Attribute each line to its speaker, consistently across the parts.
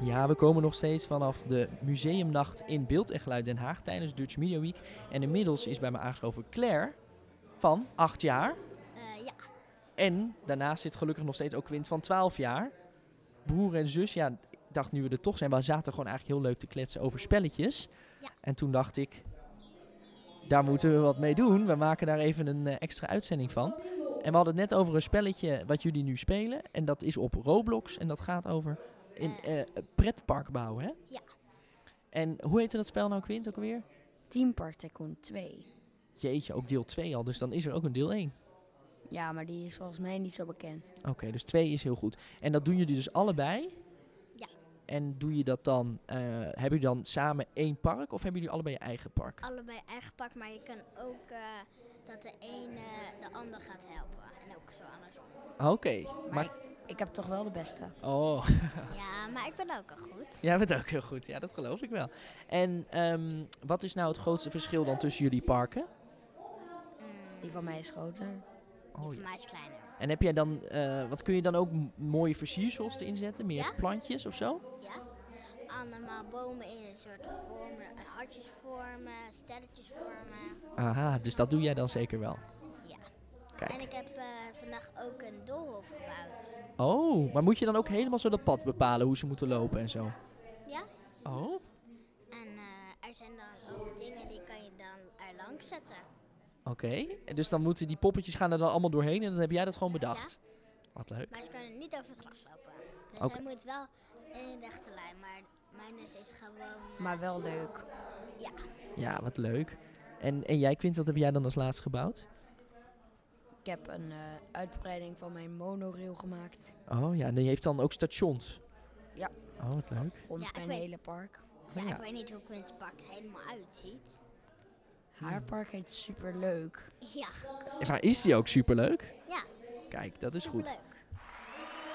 Speaker 1: Ja, we komen nog steeds vanaf de museumnacht in Beeld en Geluid Den Haag tijdens Dutch Media Week. En inmiddels is bij me aangeschoven Claire van 8 jaar.
Speaker 2: Eh, ja.
Speaker 1: En daarnaast zit gelukkig nog steeds ook Quint van 12 jaar. Broer en zus, ja, ik dacht nu we er toch zijn, we zaten gewoon eigenlijk heel leuk te kletsen over spelletjes.
Speaker 2: Ja.
Speaker 1: En toen dacht ik, daar moeten we wat mee doen. We maken daar even een eh, extra uitzending van. En we hadden het net over een spelletje wat jullie nu spelen. En dat is op Roblox. En dat gaat over in, eh, pretpark bouwen, hè?
Speaker 2: Ja.
Speaker 1: En hoe heette dat spel nou, Quint, ook alweer?
Speaker 3: Team Park Tycoon 2.
Speaker 1: Jeetje, ook deel 2 al. Dus dan is er ook een deel 1.
Speaker 3: Ja, maar die is volgens mij niet zo bekend.
Speaker 1: Oké, dus twee is heel goed. En dat doen jullie dus allebei?
Speaker 2: Ja.
Speaker 1: En doe je dat dan, eh, hebben jullie dan samen één park of hebben jullie allebei je eigen park?
Speaker 2: Allebei eigen pak, maar je kan ook eh, dat de een eh, de ander gaat helpen. En ook zo andersom.
Speaker 1: Oké.
Speaker 3: Maar,
Speaker 1: Maar,
Speaker 3: ik, ik heb toch wel de beste.
Speaker 1: oh,
Speaker 2: Ja, maar ik ben ook al goed.
Speaker 1: jij bent ook heel goed. Ja, dat geloof ik wel. En ehm, wat is nou het grootste verschil dan tussen jullie parken?
Speaker 2: Mm,
Speaker 3: Die van mij is groter.
Speaker 2: die
Speaker 1: Oh,
Speaker 2: van mij is kleiner.
Speaker 1: En heb jij dan, eh, wat kun je dan ook m- mooie versiersels erin zetten? Meer
Speaker 2: Ja.
Speaker 1: plantjes of zo?
Speaker 2: Ja. Allemaal bomen in een soort vormen, eh, hartjes vormen, sterretjes vormen.
Speaker 1: Aha, dus dat doe jij dan zeker wel.
Speaker 2: Ja. En
Speaker 1: Kijk.
Speaker 2: ik heb eh, vandaag ook een doolhof gebouwd.
Speaker 1: Oh, maar moet je dan ook helemaal zo dat pad bepalen hoe ze moeten lopen en zo?
Speaker 2: Ja.
Speaker 1: Oh.
Speaker 2: En eh, er zijn dan ook dingen die kan je dan er langs zetten.
Speaker 1: Oké, en dus dan moeten die poppetjes gaan er dan allemaal doorheen en dan heb jij dat gewoon bedacht. Wat leuk.
Speaker 2: Maar ze kunnen niet over het gras lopen. Dus
Speaker 1: Oké.
Speaker 2: hij moet wel in een rechte lijn. Maar mijn is, is gewoon...
Speaker 3: Maar wel leuk.
Speaker 2: Ja.
Speaker 1: Ja, wat leuk. En, en jij, Quint, wat heb jij dan als laatste gebouwd?
Speaker 3: Ik heb een eh, uitbreiding van mijn monorail gemaakt.
Speaker 1: Oh ja, en die heeft dan ook stations.
Speaker 3: Ja.
Speaker 1: Oh, wat leuk.
Speaker 3: Rond
Speaker 2: Ja, ik
Speaker 3: mijn
Speaker 2: weet-
Speaker 3: hele park.
Speaker 2: Ja,
Speaker 1: Ja.
Speaker 2: ik weet niet hoe Quince Park helemaal uitziet.
Speaker 3: Haar park heet superleuk.
Speaker 2: Ja,
Speaker 1: En waar is die ook superleuk?
Speaker 2: Ja.
Speaker 1: Kijk, dat is goed.
Speaker 2: superleuk.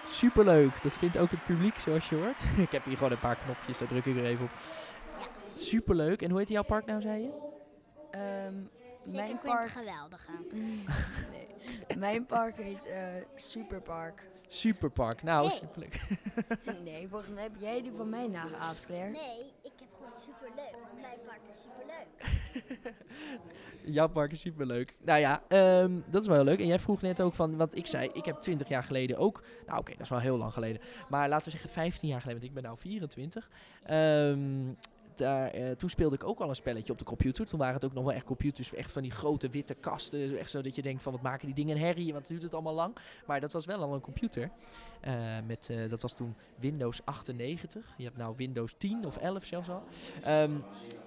Speaker 1: Superleuk. Dat vindt ook het publiek, zoals je hoort. ik heb hier gewoon een paar knopjes, daar druk ik er even op.
Speaker 2: Ja.
Speaker 1: Superleuk. En hoe heet jouw park nou, zei je?
Speaker 3: Ehm,
Speaker 2: Zeker
Speaker 3: mijn,
Speaker 2: Quint
Speaker 3: park,
Speaker 2: geweldige.
Speaker 1: Hm?
Speaker 3: mijn park heet eh, Superpark.
Speaker 1: Superpark. Nou,
Speaker 2: Nee.
Speaker 1: superleuk.
Speaker 3: Nee, volgens mij heb jij die van mij nageaapt, Claire.
Speaker 2: Nee, ik heb gewoon superleuk. Want mijn park is superleuk.
Speaker 1: Jouw park is superleuk. Nou ja, ehm, dat is wel heel leuk. En jij vroeg net ook van, want ik zei, ik heb 20 jaar geleden ook, nou oké, dat is wel heel lang geleden, maar laten we zeggen 15 jaar geleden, want ik ben nou 24. Ehm, daar, eh, toen speelde ik ook al een spelletje op de computer. Toen waren het ook nog wel echt computers, echt van die grote witte kasten, echt zo dat je denkt van, wat maken die dingen een herrie, want duurt het allemaal lang. Maar dat was wel al een computer. Eh, met, eh, dat was toen Windows 98. Je hebt nou Windows 10 of 11 zelfs al. Ehm,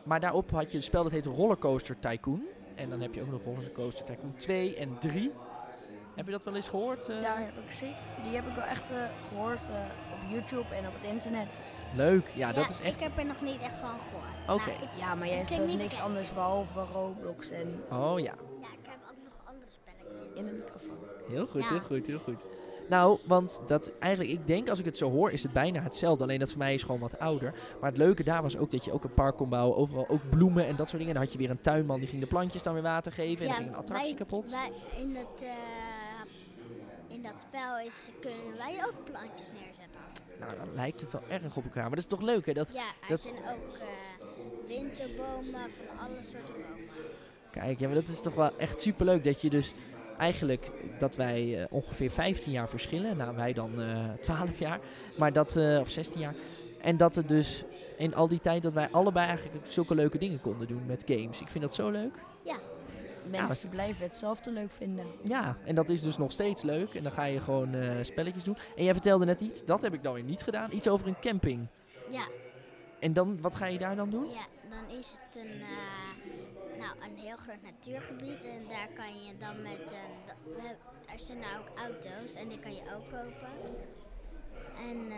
Speaker 1: maar daarop had je een spel dat heette Rollercoaster Tycoon. En dan heb je ook nog Rollercoaster Tycoon 2 en 3. Heb je dat wel eens gehoord? eh?
Speaker 3: Daar heb ik zeker, die heb ik wel echt eh, gehoord eh, op YouTube en op het internet.
Speaker 1: Leuk, ja, dat is echt...
Speaker 2: Ik heb er nog niet echt van gehoord.
Speaker 1: Oké.
Speaker 2: Maar ik-
Speaker 3: Ja, maar
Speaker 2: Het
Speaker 3: jij
Speaker 2: klinkt
Speaker 3: speelt
Speaker 2: niet
Speaker 3: niks
Speaker 2: bekend.
Speaker 3: anders behalve Roblox en
Speaker 1: Oh ja,
Speaker 2: ja, ik heb ook nog andere spelletjes.
Speaker 3: in de microfoon.
Speaker 1: heel goed,
Speaker 2: Ja.
Speaker 1: heel goed, heel goed. Nou, want dat eigenlijk, ik denk als ik het zo hoor, is het bijna hetzelfde. Alleen dat voor mij is gewoon wat ouder. Maar het leuke daar was ook dat je ook een park kon bouwen. Overal ook bloemen en dat soort dingen. En dan had je weer een tuinman die ging de plantjes dan weer water geven. En dan
Speaker 2: Ja,
Speaker 1: ging een attractie
Speaker 2: wij-
Speaker 1: kapot.
Speaker 2: Wij, in, dat, eh, in dat spel is, kunnen wij ook plantjes neerzetten.
Speaker 1: Nou, dan lijkt het wel erg op elkaar. Maar dat is toch leuk, hè? Dat,
Speaker 2: Ja, er
Speaker 1: Dat-
Speaker 2: zijn ook eh, winterbomen van alle soorten bomen.
Speaker 1: Kijk, ja, maar dat is toch wel echt superleuk dat je dus eigenlijk dat wij eh, ongeveer 15 jaar verschillen. Nou, wij dan eh 12 jaar, maar dat, eh, of 16 jaar. En dat er dus in al die tijd dat wij allebei eigenlijk zulke leuke dingen konden doen met games. Ik vind dat zo leuk.
Speaker 3: Mensen blijven hetzelfde leuk vinden.
Speaker 1: Ja, en dat is dus nog steeds leuk. En dan ga je gewoon eh, spelletjes doen. En jij vertelde net iets, dat heb ik dan weer niet gedaan. Iets over een camping.
Speaker 2: Ja,
Speaker 1: En dan, wat ga je daar dan doen?
Speaker 2: ja, dan is het een, eh, nou, een heel groot natuurgebied. En daar kan je dan met een. da- we- Er zijn nou ook auto's en die kan je ook kopen. En eh,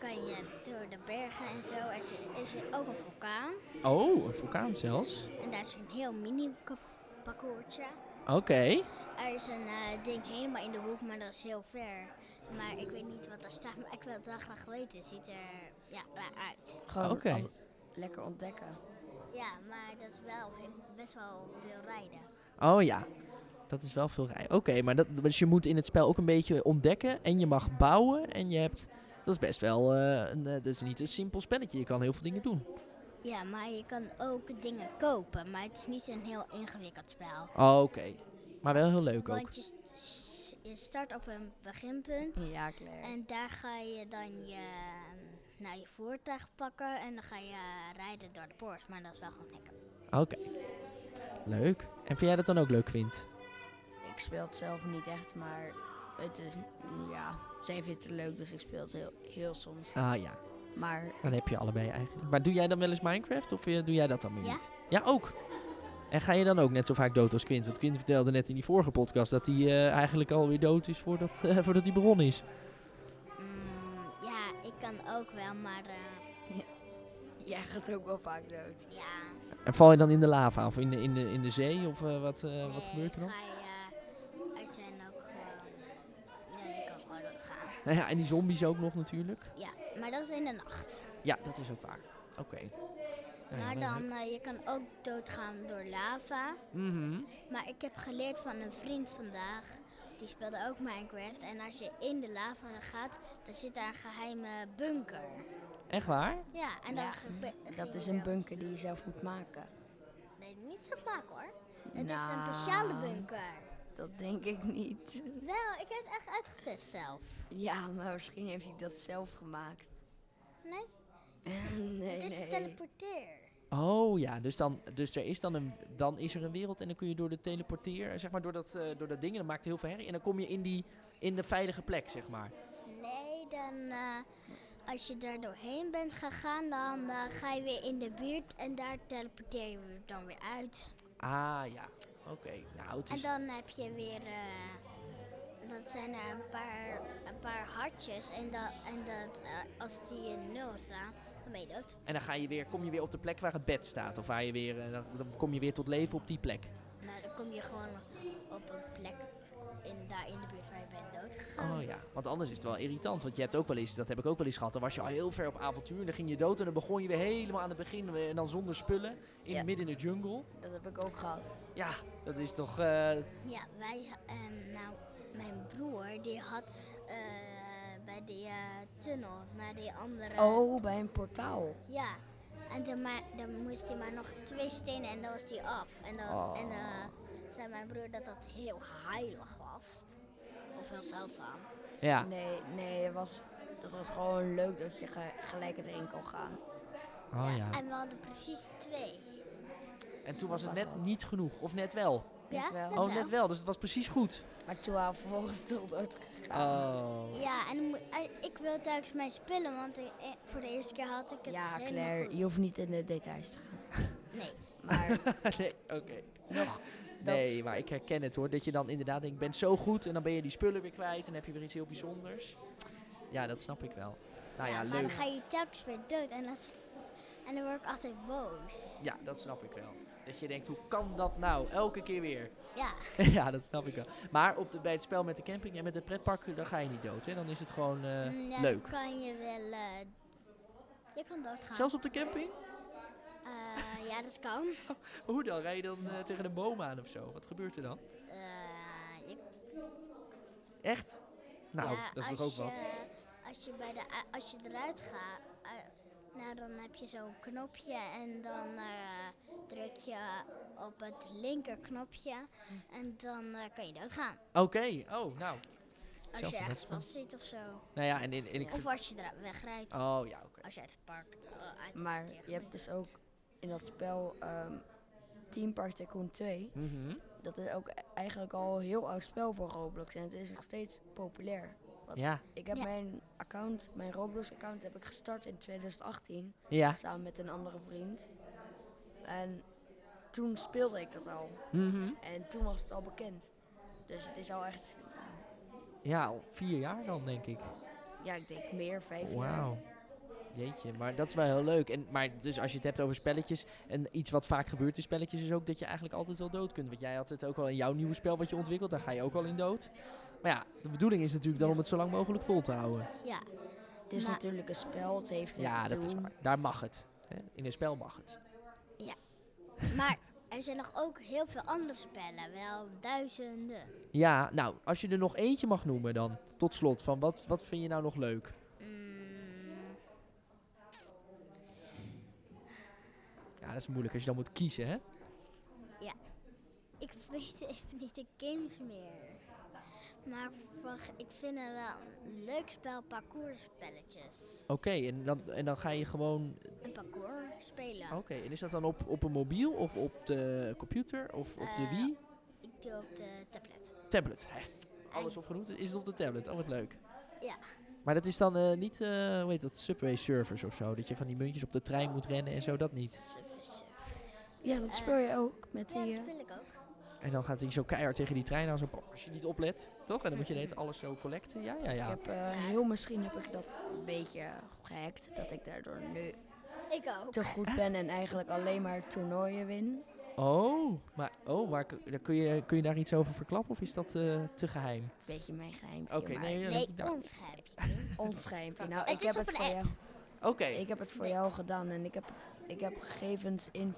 Speaker 2: kan je door de bergen en zo. Er is, is er ook een vulkaan.
Speaker 1: Oh, een vulkaan zelfs.
Speaker 2: En daar is een heel mini ka- parcoursje.
Speaker 1: Oké.
Speaker 2: Er is een eh, ding helemaal in de hoek, maar dat is heel ver. Maar ik weet niet wat daar staat, maar ik wil het wel graag weten. Het ziet er ja, raar uit.
Speaker 3: Gewoon
Speaker 1: Oké.
Speaker 3: al- lekker ontdekken.
Speaker 2: Ja, maar dat is wel he- best wel veel rijden.
Speaker 1: Oh ja, dat is wel veel rij. Oké, maar dat, dus je moet in het spel ook een beetje ontdekken en je mag bouwen en je hebt... Dat is best wel, eh, een, eh, dat is niet een simpel spelletje. Je kan heel veel dingen doen.
Speaker 2: Ja, maar je kan ook dingen kopen, maar het is niet een heel ingewikkeld spel.
Speaker 1: Oh, Oké, maar wel heel leuk ook.
Speaker 2: Want je, st- s- je start op een beginpunt
Speaker 3: Ja, Claire.
Speaker 2: en daar ga je dan je, nou, je voertuig pakken en dan ga je rijden door de poort. Maar dat is wel gewoon lekker.
Speaker 1: Oké, leuk. En vind jij dat dan ook leuk, vindt?
Speaker 3: Ik speel het zelf niet echt, maar het is, ja, zij vindt het leuk, dus ik speel het heel, heel soms.
Speaker 1: Ah ja,
Speaker 3: Maar
Speaker 1: dan heb je allebei eigenlijk. Maar doe jij dan wel eens Minecraft of eh, doe jij dat dan weer
Speaker 2: Ja.
Speaker 1: niet? Ja, ook. En ga je dan ook net zo vaak dood als Quint? Want Quint vertelde net in die vorige podcast dat hij eh, eigenlijk alweer dood is voordat, voordat hij begonnen is.
Speaker 2: Mm, ja, ik kan ook wel, maar eh,
Speaker 3: jij gaat ook wel vaak dood.
Speaker 2: ja.
Speaker 1: En val je dan in de lava of in de, in de, in de zee? Of eh, wat, eh, wat
Speaker 2: nee,
Speaker 1: gebeurt er dan?
Speaker 2: Ga je, er zijn ook gewoon. Ja, je kan gewoon doodgaan.
Speaker 1: Nou ja, en die zombies ook nog natuurlijk.
Speaker 2: Ja, maar dat is in de nacht.
Speaker 1: Ja, dat is ook waar. Oké. Nou ja,
Speaker 2: maar
Speaker 1: wel
Speaker 2: dan,
Speaker 1: leuk.
Speaker 2: eh, je kan ook doodgaan door lava.
Speaker 1: Mhm.
Speaker 2: Maar ik heb geleerd van een vriend vandaag. Die speelde ook Minecraft. En als je in de lava gaat, dan zit daar een geheime bunker.
Speaker 1: Echt waar?
Speaker 2: Ja, en dan
Speaker 3: Ja,
Speaker 2: gebe- ging
Speaker 3: Dat is
Speaker 2: je
Speaker 3: een
Speaker 2: wel-
Speaker 3: bunker die je zelf moet maken.
Speaker 2: Nee, niet zo vaak hoor. Het is een
Speaker 3: Nou.
Speaker 2: speciale bunker.
Speaker 3: Dat denk ik niet.
Speaker 2: Wel, ik heb het echt uitgetest zelf.
Speaker 3: Ja, maar misschien heeft hij dat zelf gemaakt.
Speaker 2: Nee,
Speaker 3: nee,
Speaker 2: het is
Speaker 3: nee.
Speaker 2: een teleporteer.
Speaker 1: Oh ja, dus, dan, dus er is dan, een, dan is er een wereld en dan kun je door de teleporteer, zeg maar door dat, eh, door dat ding, en dat maakt heel veel herrie. En dan kom je in, die, in de veilige plek, zeg maar.
Speaker 2: Nee, dan eh, als je daar doorheen bent gegaan, dan eh, ga je weer in de buurt en daar teleporteer je weer- dan weer uit.
Speaker 1: Ah ja, oké. Nou, het
Speaker 2: En
Speaker 1: is...
Speaker 2: dan heb je weer, eh, dat zijn er een paar, een paar hartjes en, dan en dat, eh, als die in nul staan, dan ben je dood.
Speaker 1: En dan ga je weer, kom je weer op de plek waar het bed staat. Of waar je weer, eh, dan, dan kom je weer tot leven op die plek.
Speaker 2: Nou, dan kom je gewoon op een plek in, daar in de buurt waar je bent dood gegaan.
Speaker 1: Oh ja, want anders is het wel irritant. Want je hebt ook wel eens, dat heb ik ook wel eens gehad, dan was je al heel ver op avontuur. En dan ging je dood en dan begon je weer helemaal aan het begin. eh, En dan zonder spullen, in,
Speaker 3: Ja.
Speaker 1: midden in de jungle.
Speaker 3: Dat heb ik ook gehad.
Speaker 1: Ja, dat is toch... eh,
Speaker 2: Ja, wij, ehm, nou, mijn broer die had eh, bij die eh, tunnel naar die andere...
Speaker 3: Oh, bij een portaal.
Speaker 2: Ja, en dan, maar, dan moest hij maar nog twee stenen en dan was hij af. En dan
Speaker 1: Oh.
Speaker 2: en, eh, zei mijn broer dat dat heel heilig was. Of heel zeldzaam.
Speaker 1: ja.
Speaker 3: Nee, nee, dat was, dat was gewoon leuk dat je ge- gelijk erin kon gaan.
Speaker 1: Oh ja.
Speaker 2: En we hadden precies twee.
Speaker 1: En toen was het
Speaker 3: was
Speaker 1: net
Speaker 3: al.
Speaker 1: niet genoeg, of net wel.
Speaker 3: Net
Speaker 2: ja?
Speaker 3: wel.
Speaker 1: oh, net wel, dus het was precies goed.
Speaker 3: Maar toen waren we vervolgens tot dood gegaan.
Speaker 1: Oh.
Speaker 2: Ja, en dan moet- en ik wil telkens mijn spullen, want ik- eh, voor de eerste keer had ik het
Speaker 3: ja,
Speaker 2: helemaal
Speaker 3: Claire,
Speaker 2: goed.
Speaker 3: je hoeft niet in de details te gaan.
Speaker 2: Nee.
Speaker 3: Maar
Speaker 1: nee, oké.
Speaker 3: nog.
Speaker 1: Nee, maar ik herken het hoor. Dat je dan inderdaad denkt, ik ben zo goed en dan ben je die spullen weer kwijt en heb je weer iets heel bijzonders. Ja, dat snap ik wel.
Speaker 3: Ah,
Speaker 1: Nou ja,
Speaker 2: maar dan ga
Speaker 1: leuk.
Speaker 2: je telkens weer dood en, dat is- en dan word ik altijd boos.
Speaker 1: Ja, dat snap ik wel. Dat je denkt, hoe kan dat nou? Elke keer weer.
Speaker 2: Ja,
Speaker 1: ja, dat snap ik wel. Maar op de, bij het spel met de camping en met het pretpark, dan ga je niet dood. Hè? Dan is het gewoon eh,
Speaker 2: Mm, ja,
Speaker 1: leuk.
Speaker 2: Dan kan je wel... eh, je kan doodgaan.
Speaker 1: Zelfs op de camping?
Speaker 2: Eh, ja, dat kan.
Speaker 1: Hoe dan? Rij je dan eh, tegen een boom aan of zo? Wat gebeurt er dan?
Speaker 2: Eh, je
Speaker 1: Echt? Nou,
Speaker 2: Ja,
Speaker 1: dat is toch
Speaker 2: als
Speaker 1: ook wat.
Speaker 2: je- Als je, bij de, a- als je eruit gaat, eh, nou, dan heb je zo'n knopje en dan eh, druk je op het linkerknopje en dan eh, kan je doodgaan.
Speaker 1: Oké, oh, nou.
Speaker 2: Als
Speaker 1: Zelf
Speaker 2: je
Speaker 1: een
Speaker 2: echt
Speaker 1: hotspot.
Speaker 2: vast zit of zo.
Speaker 1: Nou ja, en, en, en ik...
Speaker 2: Of
Speaker 1: ver-
Speaker 2: als je eruit wegrijdt.
Speaker 1: Oh, ja, oké.
Speaker 2: Als je uit het park. eh, uit het
Speaker 3: Maar
Speaker 2: tegen-
Speaker 3: je hebt dus ook in dat spel ehm Team Park Tycoon 2.
Speaker 1: Mhm.
Speaker 3: Dat is ook e- eigenlijk al een heel oud spel voor Roblox. En het is nog steeds populair. Wat-
Speaker 1: Ja,
Speaker 3: Ik heb
Speaker 2: Ja.
Speaker 3: mijn account, mijn Roblox account heb ik gestart in 2018.
Speaker 1: ja.
Speaker 3: Samen met een andere vriend. En toen speelde ik dat al.
Speaker 1: Mhm.
Speaker 3: En toen was het al bekend. Dus het is al echt,
Speaker 1: Ja, al vier jaar dan, denk ik.
Speaker 3: ja ik denk meer, vijf jaar.
Speaker 1: Wauw. Jeetje, maar dat is wel heel leuk. En, maar dus als je het hebt over spelletjes, en iets wat vaak gebeurt in spelletjes is ook dat je eigenlijk altijd wel dood kunt. Want jij had het ook wel in jouw nieuwe spel wat je ontwikkelt, daar ga je ook al in dood. Maar ja, de bedoeling is natuurlijk dan om het zo lang mogelijk vol te houden.
Speaker 2: Ja,
Speaker 3: Het is
Speaker 2: Maar-
Speaker 3: natuurlijk een spel, het heeft een
Speaker 1: Ja, dat
Speaker 3: doel.
Speaker 1: is waar. Daar mag het. hè. In een spel mag het.
Speaker 2: maar er zijn nog ook heel veel andere spellen, wel duizenden.
Speaker 1: Ja, nou, als je er nog eentje mag noemen dan, tot slot, van wat, wat vind je nou nog leuk?
Speaker 2: Mm,
Speaker 1: Ja, dat is moeilijk als je dan moet kiezen, hè?
Speaker 2: ik weet even niet de games meer. Maar wacht, ik vind het wel een leuk spel, parcoursspelletjes.
Speaker 1: Oké, en, dan, en dan ga je gewoon...
Speaker 2: Een parcours spelen.
Speaker 1: Oké, en is dat dan op, op een mobiel of op de computer of op de
Speaker 2: Eh,
Speaker 1: Wii?
Speaker 2: Ik doe op de tablet.
Speaker 1: Tablet, hè? Alles opgenoemd is het op de tablet. Oh, wat leuk.
Speaker 2: Ja.
Speaker 1: Maar dat is dan eh, niet, eh hoe heet dat, Subway Surfers of zo? Dat je van die muntjes op de trein moet rennen en zo, dat niet.
Speaker 2: Service.
Speaker 4: Ja, dat speel je ook met
Speaker 2: Ja,
Speaker 4: die...
Speaker 2: dat
Speaker 4: eh,
Speaker 2: speel ik ook.
Speaker 1: En dan gaat hij zo keihard tegen die trein aan, zo, pop, als je niet oplet, toch? En dan moet je net alles zo collecten, ja, ja, ja.
Speaker 3: Ik heb eh,
Speaker 4: heel misschien heb ik dat.
Speaker 3: een beetje gehackt dat ik daardoor nu
Speaker 2: Ik ook.
Speaker 3: te goed ben en eigenlijk alleen maar toernooien win.
Speaker 1: Oh, maar, oh, maar k- dan kun, je, kun je daar iets over verklappen of is dat eh, te geheim?
Speaker 3: Beetje mijn geheimpje,
Speaker 1: Oké,
Speaker 3: maar
Speaker 1: nee, ja,
Speaker 2: Nee,
Speaker 1: dat- nou,
Speaker 2: ons geheimpje, kind.
Speaker 3: ons geheimpje. Nou,
Speaker 2: Het
Speaker 3: ik
Speaker 2: is
Speaker 3: heb
Speaker 2: op
Speaker 3: het
Speaker 2: een
Speaker 3: voor
Speaker 2: app.
Speaker 3: jou.
Speaker 1: Oké,
Speaker 3: Ik heb het voor jou gedaan en ik heb, ik heb gegevens in,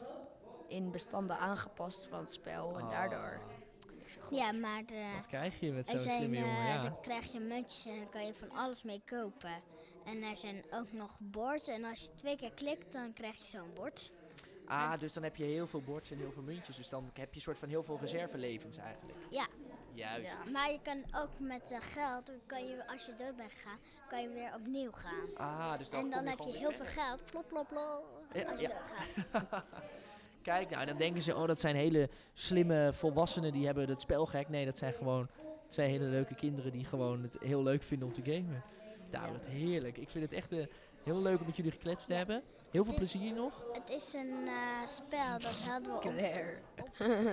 Speaker 3: in bestanden aangepast van het spel
Speaker 1: Oh.
Speaker 3: en daardoor.
Speaker 2: Ja, maar de,
Speaker 1: Ah, wat krijg je met
Speaker 2: er
Speaker 1: zo'n
Speaker 2: zijn,
Speaker 1: slimme jongen,
Speaker 2: eh,
Speaker 1: ja.
Speaker 2: dan krijg je muntjes en dan kan je van alles mee kopen. En er zijn ook nog boards. En als je twee keer klikt, dan krijg je zo'n bord.
Speaker 1: Ah, dus dan heb je heel veel bords en heel veel muntjes, dus dan heb je een soort van heel veel reservelevens eigenlijk.
Speaker 2: Ja.
Speaker 1: Juist.
Speaker 2: Maar je kan ook met eh, geld, dan kan je, als je dood bent gegaan, kan je weer opnieuw gaan.
Speaker 1: Ah, dus dan
Speaker 2: en
Speaker 1: kom
Speaker 2: dan heb je
Speaker 1: gewoon
Speaker 2: heel
Speaker 1: weer
Speaker 2: veel
Speaker 1: verder.
Speaker 2: geld. Plop, plop, plop.
Speaker 1: Ja,
Speaker 2: als je
Speaker 1: ja.
Speaker 2: dood gaat.
Speaker 1: Kijk, nou, dan denken ze, oh, dat zijn hele slimme volwassenen die hebben het spel gek. Nee, dat zijn gewoon twee hele leuke kinderen die gewoon het heel leuk vinden om te gamen. Nou, wat heerlijk. Ik vind het echt eh, heel leuk om met jullie gekletst te hebben. Heel veel plezier nog.
Speaker 2: Het is een eh, spel dat hadden we op,
Speaker 3: Claire.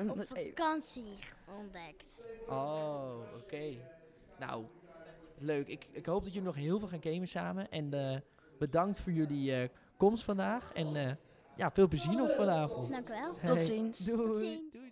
Speaker 2: op vakantie ontdekt.
Speaker 1: Oh, oké. Nou, leuk. Ik, ik hoop dat jullie nog heel veel gaan gamen samen. En eh, bedankt voor jullie eh, komst vandaag. En eh, ja, veel plezier nog vanavond.
Speaker 2: Dank u wel.
Speaker 3: Tot
Speaker 1: Hey,
Speaker 3: ziens.
Speaker 1: Doei.
Speaker 2: Nou, Tot ziens.
Speaker 1: Doei.